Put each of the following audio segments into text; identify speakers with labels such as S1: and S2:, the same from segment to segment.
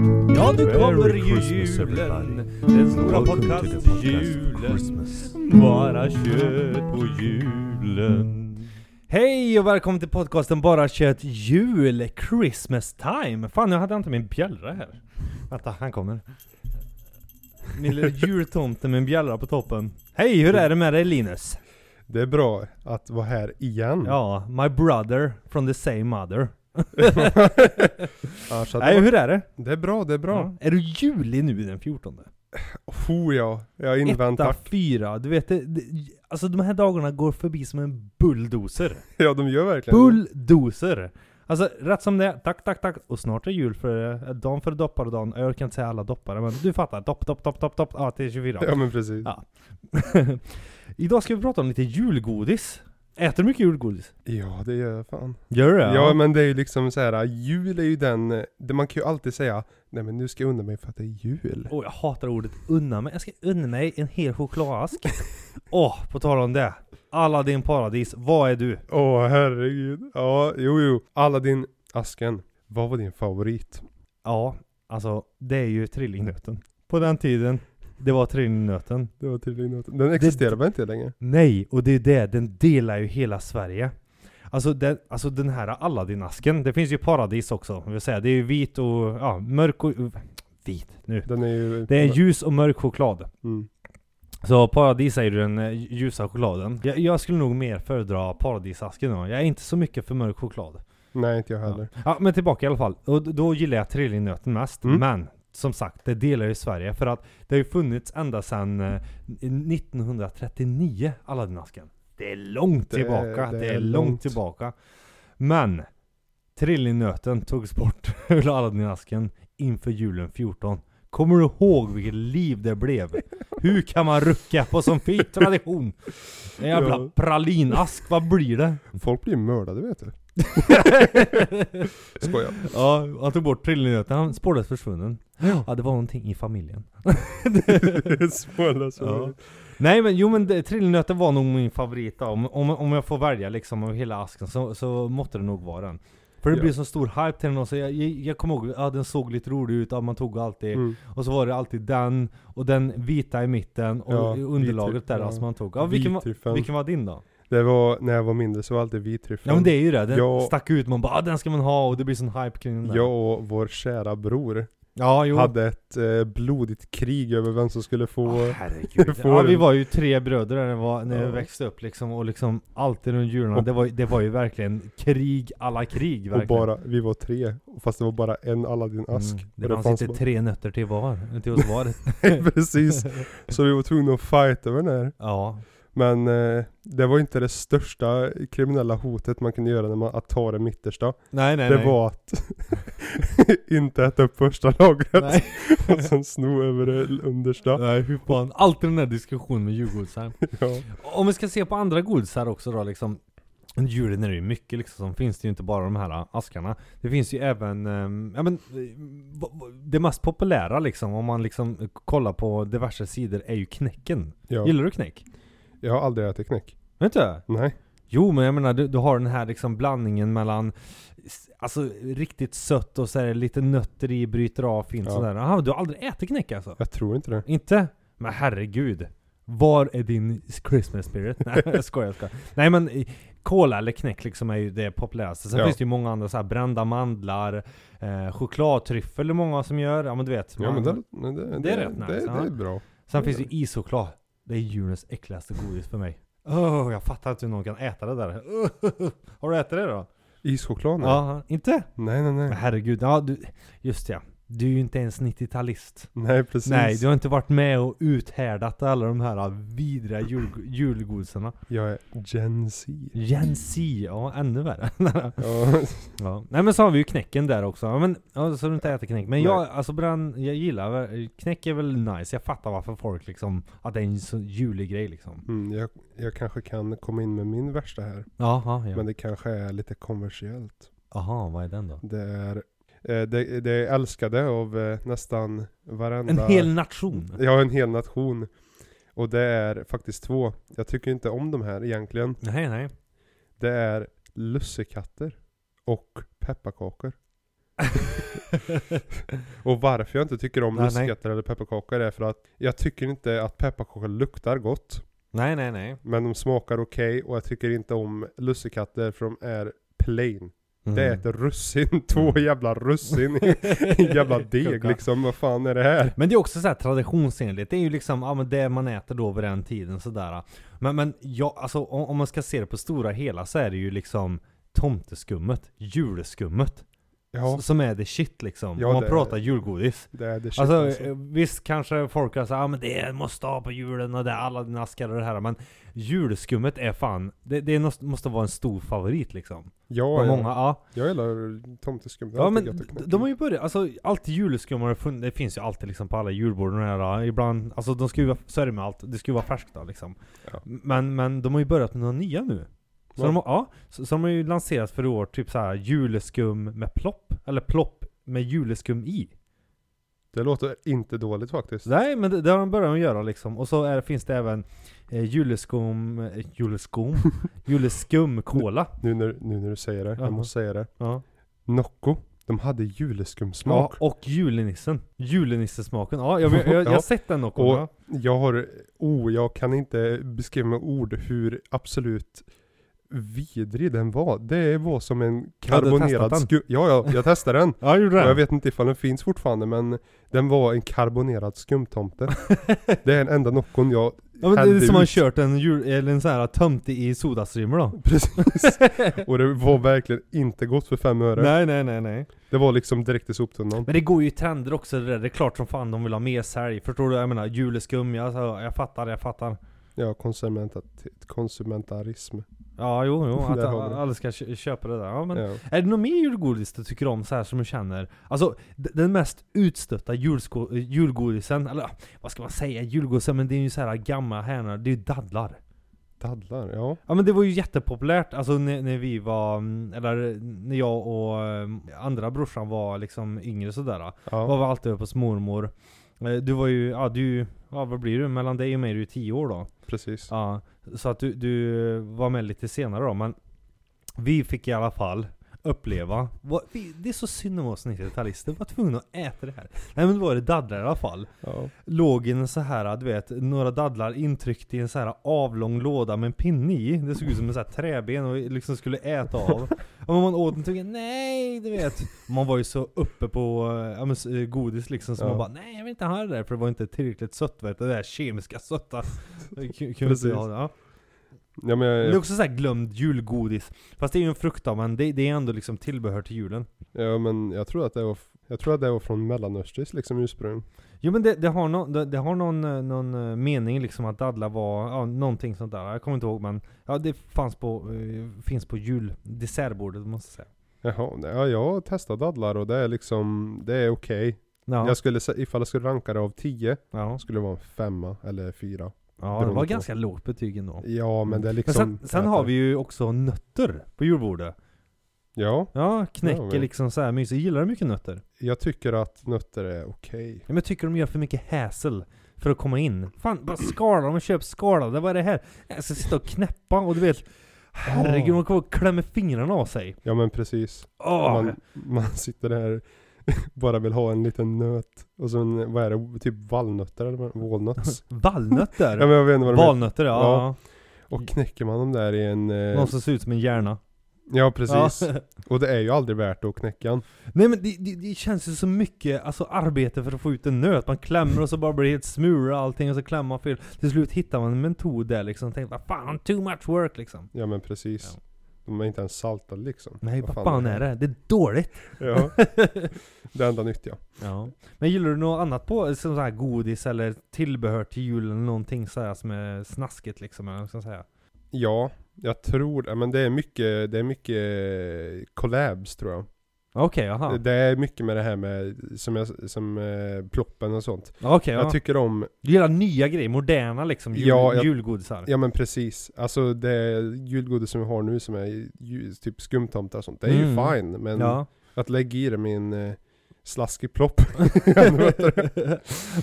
S1: Ja, nu
S2: Merry
S1: kommer ju
S2: Christmas, everybody.
S1: julen. Den stora
S2: Welcome to the podcast,
S1: podcast-julen.
S2: Christmas.
S1: Bara kött på julen. Hej och välkommen till podcasten Bara kött jul, Christmas time. Fan, nu hade jag inte min bjällra här. Vänta, han kommer. Min lilla jultomte med en bjällra på toppen. Hej, hur är det med dig Linus?
S3: Det är bra att vara här igen.
S2: Mm.
S1: Ja, my brother from the same mother.
S3: Annars hade
S1: Nej,
S3: det,
S1: hur är det?
S3: varit- det är bra, det är bra.
S1: Ja. Är du julig nu den 14?
S3: Ho ja, jag
S1: Etta,
S3: inväntar.
S1: fyra. Du vet, det, det, alltså de här dagarna går förbi som en bulldozer.
S3: Ja de gör verkligen det.
S1: Bulldozer! Alltså rätt som det är, tack, tack, tack. Och snart är jul för eh, dagen för dopparedagen. Jag orkar inte säga alla doppare, men du fattar. Dopp, dopp, dopp, dopp, dopp. Ja, till 24.
S3: Ja men precis.
S1: Ja. Idag ska vi prata om lite julgodis. Äter du mycket julgodis?
S3: Ja det gör jag fan.
S1: Gör du
S3: Ja. men det är ju liksom så här, jul är ju den, eh, det man kan ju alltid säga, nej men nu ska jag unna mig för att det är jul.
S1: Åh, jag hatar ordet unna mig. Jag ska unna mig en hel chokladask. Åh, på tal om det. Aladdin paradis, vad är du?
S3: Åh herregud. Ja, jo jo. Aladdin, asken. Vad var din favorit?
S1: Ja, alltså det är ju trillingnöten. På den tiden, det var trillingnöten.
S3: Det var tydligen något. Den existerar väl inte längre?
S1: Nej, och det är det, den delar ju hela Sverige. Alltså den, alltså den här Aladdin-asken, det finns ju paradis också, vill säga. Det är ju vit och, ja, mörk och... Vit, nu.
S3: Den är ju...
S1: Det är ljus och mörk choklad.
S3: Mm.
S1: Så paradis är ju den eh, ljusa chokladen. Jag, jag skulle nog mer föredra paradisasken då. Jag är inte så mycket för mörk choklad.
S3: Nej inte jag heller.
S1: Ja, men tillbaka i alla fall. Och d- då gillar jag trillingnöten mest.
S3: Mm.
S1: Men som sagt, det delar ju Sverige. För att det har ju funnits ända sedan eh, 1939, Aladdinasken. Det är långt
S3: Det är-
S1: tillbaka. Det, är, långt, tillbaka. Men trillingnöten togs bort ur Aladdinasken inför julen 14. Kommer du ihåg vilket liv det blev? Hur kan man rucka på sån fin tradition? En jävla
S3: Ja.
S1: pralinask, vad blir det?
S3: Folk blir mördade vet du. Skojar.
S1: Ja, han tog bort trillingnöten, han spårades försvunnen. Ja, det var någonting i familjen.
S3: Småla, småla.
S1: Ja. Nej men jo men det- trillingnöten var nog min favorit då. om, om, om jag får välja liksom av hela asken så, så måtte det nog vara den. För det
S3: Ja.
S1: blev så stor hype till den och så jag, jag, jag kommer ihåg, ja den såg lite rolig ut, ja, man tog alltid
S3: Mm.
S1: Och så var det alltid den, och den vita i mitten, och
S3: Ja,
S1: underlaget
S3: vit- typ.
S1: där
S3: ja. typ.
S1: alltså man tog. Ja, vilken, var,
S3: Vitryffeln.
S1: vilken var din då?
S3: Det var, när jag var mindre så var alltid vitryffeln.
S1: Ja men det är ju det, den
S3: Ja.
S1: stack ut, man bara ah, den ska man ha och det blir sån hype kring den där.
S3: Jag och vår kära bror
S1: ja jo.
S3: hade ett eh, blodigt krig över vem som skulle få...
S1: Åh, herregud.
S3: får
S1: Ja, vi
S3: den.
S1: var ju tre bröder när, det var, när jag
S3: Ja.
S1: växte upp liksom, och liksom alltid runt jularna.
S3: Och-
S1: Det var, ju- det var ju verkligen krig alla krig
S3: och
S1: verkligen.
S3: bara, vi var tre, fast det var bara en Aladdin-ask.
S1: Mm. Det,
S3: Och
S1: fanns inte tre nötter till var, till oss var.
S3: bara... Precis, så vi var tvungna att fighta över den här.
S1: ja.
S3: Men eh, det var inte det största kriminella hotet man kunde göra när man, att ta det mittersta.
S1: Nej nej
S3: det
S1: nej.
S3: var att inte äta upp första lagret
S1: Nej.
S3: och sen sno över det understa.
S1: Nej, hur fan. Alltid den där diskussionen med julgodisar.
S3: Ja.
S1: Om vi ska se på andra godisar också då liksom. Under julen är det ju mycket liksom som finns. Det är ju inte bara de här ah, askarna. Det finns ju även, ehm, ja men, eh, va- va- det mest populära liksom om man liksom eh, kollar på diverse sidor är ju knäcken.
S3: Ja.
S1: Gillar du knäck?
S3: Jag har aldrig ätit knäck.
S1: Vet du?
S3: Nej.
S1: Jo men jag menar du, du har den här liksom blandningen mellan s- Alltså riktigt sött och så är det lite nötter i, bryter av fint
S3: Ja.
S1: sådär. Aha, du har aldrig ätit knäck alltså?
S3: Jag tror inte det.
S1: Inte? Men herregud. Var är din Christmas spirit? Nej jag skojar, jag skojar. Nej men i- Cola eller knäck liksom är ju det populäraste. Sen
S3: Ja.
S1: finns det ju många andra så här brända mandlar, eh, chokladtryffel är många som gör. Ja men du vet.
S3: Ja men
S1: man-
S3: det, det, det,
S1: Det är rätt
S3: det,
S1: nice,
S3: det
S1: ja.
S3: är bra.
S1: Sen finns det ju ischoklad. Det är julens äckligaste godis för mig. Åh, jag fattar inte hur någon kan äta det där. har du ätit det då?
S3: Ischoklad? nej.
S1: Ja, inte?
S3: Nej nej
S1: Men
S3: nej.
S1: herregud, ja du, just ja. Du är ju inte ens 90-talist.
S3: Nej precis.
S1: Nej, du har inte varit med och uthärdat alla de här vidriga jul, julgodisarna.
S3: Jag är Gen Z.
S1: Gen Z, ja ännu värre.
S3: Ja.
S1: ja. Nej men så har vi ju knäcken där också. Ja, Men, ja, så du inte äter knäck. Men
S3: Nej.
S1: jag, alltså brann, jag gillar, väl- knäck är väl nice. Jag fattar varför folk liksom, att det är en så julig grej liksom.
S3: Mm, jag, jag kanske kan komma in med min värsta här.
S1: Jaha, ja.
S3: Men det kanske är lite kommersiellt.
S1: Aha, vad är den då?
S3: Det är, eh, det, det är älskade av eh, nästan
S1: En
S3: varenda.
S1: hel nation?
S3: Ja en hel nation. Och det är faktiskt två. Jag tycker inte om de här egentligen.
S1: Nej, nej.
S3: Det är lussekatter. Och pepparkakor. Och varför jag inte tycker om
S1: Nej, nej.
S3: lussekatter eller pepparkakor är för att jag tycker inte att pepparkakor luktar gott.
S1: Nej, nej, nej.
S3: Men de smakar okej och jag tycker inte om lussekatter för de är plain. Det
S1: Mm.
S3: är ett russin, två jävla russin i en jävla deg
S1: Kucka.
S3: liksom. Vad fan är det här?
S1: Men det är också så här traditionsenligt, det är ju liksom ja, men det man äter då vid den tiden sådär. Men, men ja, alltså, om, om man ska se det på stora hela så är det ju liksom tomteskummet, julskummet,
S3: Ja,
S1: s- som är det shit liksom.
S3: Ja,
S1: om man
S3: det-
S1: pratar julgodis.
S3: det är det shit
S1: Alltså,
S3: alltså.
S1: eh, visst kanske folk har sagt ah, men det måste ha på julen och det är alla naskar och det här. Men julskummet är fan, det, det är något- måste vara en stor favorit liksom.
S3: Ja,
S1: Och
S3: jag,
S1: många, ja.
S3: jag gillar tomteskum. Det är
S1: Ja
S3: alltid
S1: men
S3: gött att
S1: d-
S3: knäcka.
S1: de har ju börjat, alltså alltid julskum har det funnits, det finns ju alltid liksom på alla julbord och det här, ibland, alltså de ska ju vara, så är det med allt, det ska ju vara färskt då liksom.
S3: Ja.
S1: Men, men de har ju börjat med några nya nu. Så,
S3: Ja.
S1: de, har, ja, så, så de har ju lanserat för i år typ så här juleskum med plopp, eller plopp med juleskum i.
S3: Det låter inte dåligt faktiskt.
S1: Nej men det, det har de börjat att göra liksom, och så är, finns det även eh, juleskum, eh, juleskum, juleskum cola.
S3: Nu när, nu när du säger det,
S1: Jaha.
S3: jag måste säga det.
S1: Ja.
S3: Nocco, de hade juleskumsmak.
S1: Ja, och julenissen. Julenissesmaken, ja jag, jag, jag, jag har
S3: Ja.
S1: sett den också.
S3: Och jag har, oh jag kan inte beskriva med ord hur absolut vidrig den var. Det var som en
S1: Har du
S3: karbonerad
S1: testat
S3: skum. Ja, ja, jag testade den.
S1: Ja, gjorde
S3: Och
S1: den?
S3: jag vet inte ifall den finns fortfarande men den var en karbonerad skumtomte. det är den enda Noccon jag
S1: Ja, men det är
S3: hällde
S1: som man
S3: ut.
S1: kört en, jul, eller en sån här tömt i sodastreamer då.
S3: Precis. Och det var verkligen inte gott för fem öre.
S1: Nej, nej, nej, nej.
S3: Det var liksom direkt i soptunnan.
S1: Men det går ju i trender också det där. Det är klart som fan de vill ha mer sälj. Förstår du? Jag menar, juleskum. Jag, alltså, jag fattar, jag fattar.
S3: Ja, konsumentat- konsumentarism.
S1: Ja, jo, jo. Att
S3: Där har vi det.
S1: alla ska kö- köpa det där. Ja, men
S3: Ja.
S1: Är det något mer julgodis du tycker om så här som du känner? Alltså, d- den mest utstötta julsko- julgodisen, eller vad ska man säga, julgodisen, men det är ju så här gamla härnor, det är ju dadlar.
S3: Dadlar, ja.
S1: Ja men det var ju jättepopulärt, alltså när, när vi var, mm, eller när jag och eh, andra brorsan var liksom yngre sådär. då. Var
S3: ja.
S1: vi alltid uppe hos mormor. Eh, Du var ju, ja du, ja vad blir du? Mellan dig och mig är du 10 år då.
S3: Precis.
S1: Ja, så att du, du var med lite senare då, men vi fick i alla fall uppleva, vad, vi, det är så synd om oss 90-talister, vi var tvungna att äta det här. Nej men då var det dadlar i alla fall
S3: Ja.
S1: låg i en så här, du vet, några dadlar intryckt i en så här avlång låda med en pinne i. Det såg ut som en så här träben och liksom skulle äta av. Och man åt den tyckte nej, du vet. Man var ju så uppe på eh, ja, men, s- eh, godis liksom, så
S3: Ja.
S1: man bara nej jag vill inte ha det där för det var inte tillräckligt sött vet du, det där kemiska sötta. Det ku- kunde inte
S3: Precis.
S1: jag ha det, Ja.
S3: Ja, men
S1: Det
S3: jag,
S1: är också så här glömd julgodis. Fast det är ju en frukt då, men det, det är ändå liksom tillbehör till julen.
S3: Ja men jag tror att det var, jag tror att det var från mellanösters liksom ursprung.
S1: Jo men det, det har, no, det, det har någon, eh, någon eh, mening liksom att dadla var, ja, någonting sånt där. Jag kommer inte ihåg men, ja det fanns på, eh, finns på juldessertbordet måste jag säga.
S3: Jaha, nej, ja, jag har testat dadlar och det är liksom, det är okej.
S1: Ja,
S3: Jag skulle, sä- ifall jag skulle ranka det av 10,
S1: ja,
S3: skulle det vara en femma eller fyra.
S1: ja det
S3: beroende
S1: var
S3: på.
S1: ganska lågt betyg ändå.
S3: Ja men det är
S1: Mm. Men
S3: liksom.
S1: sen, sen har vi ju också nötter på julbordet.
S3: Ja,
S1: Ja, knäcker
S3: Ja, men-
S1: liksom så här mysigt. Gillar du mycket nötter?
S3: jag tycker att nötter är okej.
S1: Ja, men jag tycker de gör för mycket häsel för att komma in. Fan, bara skala dem och köp skalade. Vad är det här? Jag ska sitta och knäppa och du vet, herregud, man kommer och klämmer fingrarna av sig.
S3: Ja men precis.
S1: Åh!
S3: Man, man sitter där, bara vill ha en liten nöt. Och sen, vad är det, typ valnötter eller vad- walnuts?
S1: Valnötter?
S3: ja men jag vet inte vad de heter.
S1: Valnötter ja.
S3: Ja. Och knäcker man dem där i en...
S1: ja.
S3: Eh,
S1: Någon som ser ut som en hjärna.
S3: ja precis.
S1: Ja.
S3: Och det är ju aldrig värt att knäcka den.
S1: Nej men det, det, det känns ju så mycket alltså, arbete för att få ut en nöt. Man klämmer och så bara blir det helt smulor och allting och så klämmer man fel. Till slut hittar man en metod där liksom. Tänk vad fan, too much work liksom.
S3: Ja men precis.
S1: Ja.
S3: De är inte ens saltade liksom.
S1: Nej vad fan är det? Det är dåligt.
S3: Ja. Det enda nyttiga.
S1: Ja. Men gillar du något annat på, som så här godis eller tillbehör till julen eller någonting så här som är snaskigt liksom? eller vad ska jag säga?
S3: Ja, jag tror ja, men det är mycket, det är mycket collabs tror jag.
S1: Okej, jaha.
S3: Det är mycket med det här med, som, jag, som eh, ploppen och sånt.
S1: Okej, ja.
S3: Jag tycker om,
S1: Du gillar nya grejer, moderna liksom jul,
S3: Ja, jag-
S1: julgodisar?
S3: ja men precis. Alltså det julgodis som vi har nu som är ju, typ skumtomtar och sånt. Det är
S1: Mm.
S3: ju fine, men
S1: ja.
S3: att lägga i det med en eh, slaskig plopp. Ännu bättre.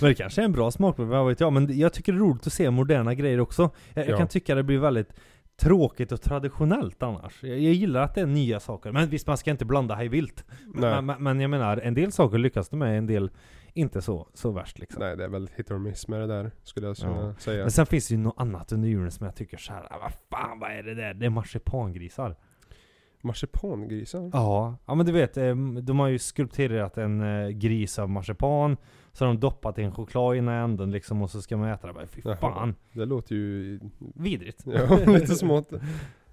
S1: men det kanske är en bra smakprov, vad vet jag. Men jag tycker det är roligt att se moderna grejer också. Jag, jag
S3: Ja.
S1: kan tycka det blir väldigt tråkigt och traditionellt annars. Jag, jag gillar att det är nya saker. Men visst, man ska inte blanda hej vilt.
S3: Nej.
S1: Men, men, men jag menar, en del saker lyckas de med, en del inte så, så värst liksom.
S3: Nej, det är väl hit or miss med det där, skulle jag
S1: Ja.
S3: ja. säga.
S1: Men sen finns det ju något annat under julen som jag tycker så här, "Ah, vad fan vad är det där? Det är marsipangrisar.
S3: Marsipangrisar?
S1: Ja, ja men du vet, eh, de har ju skulpterat en eh, gris av marsipan. Så har de doppat i en choklad i ena änden liksom och så ska man äta det. Bara, Fy
S3: Jaha.
S1: fan,
S3: Det låter ju
S1: vidrigt.
S3: ja, lite smått.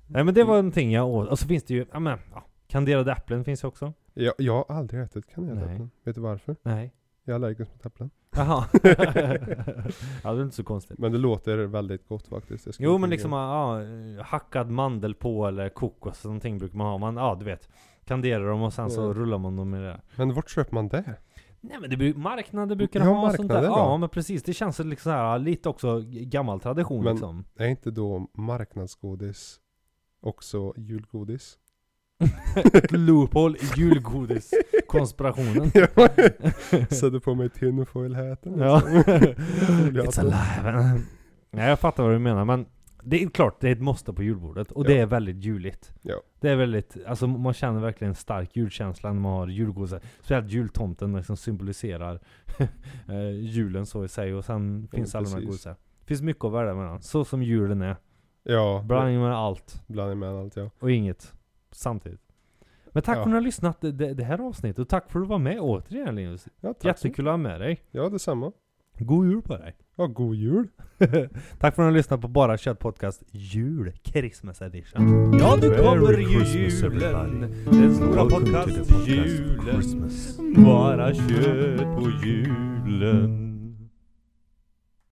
S1: Nej men det var någonting jag åt. Och så finns det ju, ja men, ja, kanderade äpplen finns ju också.
S3: Jag, jag har aldrig ätit
S1: Nej.
S3: kaneläpplen. Vet du varför?
S1: Nej.
S3: Jag är allergisk mot äpplen.
S1: Jaha. ja det är inte så konstigt.
S3: Men det låter väldigt gott faktiskt. det ska
S1: Jo
S3: jag
S1: men
S3: tillägga.
S1: liksom, ja, hackad mandel på eller kokos eller någonting brukar man ha. Man, ja du vet. Kanderar dem och sen så
S3: Mm.
S1: rullar man dem i det. där.
S3: Men vart köper man det?
S1: Nej men det bru- marknader brukar
S3: Ja,
S1: ha sånt där.
S3: marknader då.
S1: Ja men precis, det känns liksom så här, lite också g- gammal tradition
S3: Men-
S1: liksom.
S3: Är inte då marknadsgodis också julgodis?
S1: Loophole, julgodis, konspirationen.
S3: Ja. Sätter på mig tinfoil-häten. alltså.
S1: Ja. It's
S3: Julhatten.
S1: alive. Nej jag fattar vad du menar men det är klart det är ett måste på julbordet och det
S3: Ja.
S1: är väldigt juligt.
S3: Ja.
S1: Det är väldigt, alltså man känner verkligen en stark julkänsla när man har julgodis. Speciellt jultomten liksom symboliserar eh, julen så i sig och sen
S3: Ja,
S1: finns alla de här
S3: precis.
S1: godisar. finns mycket att välja mellan, så som julen är.
S3: Ja,
S1: Blandning med allt.
S3: blandning med allt ja.
S1: och inget samtidigt. Men tack för
S3: Ja.
S1: att ni har lyssnat det, det, det här avsnittet och tack för att du var med återigen Linus.
S3: Ja, tack så mycket.
S1: Jättekul att ha med dig.
S3: Ja, detsamma.
S1: God jul på dig.
S3: Ja, god jul.
S1: tack för att ni har lyssnat på Bara Kött Podcast Jul Christmas Edition. Ja, nu kommer ju julen. Den stora podcast julen. Bara kött på julen.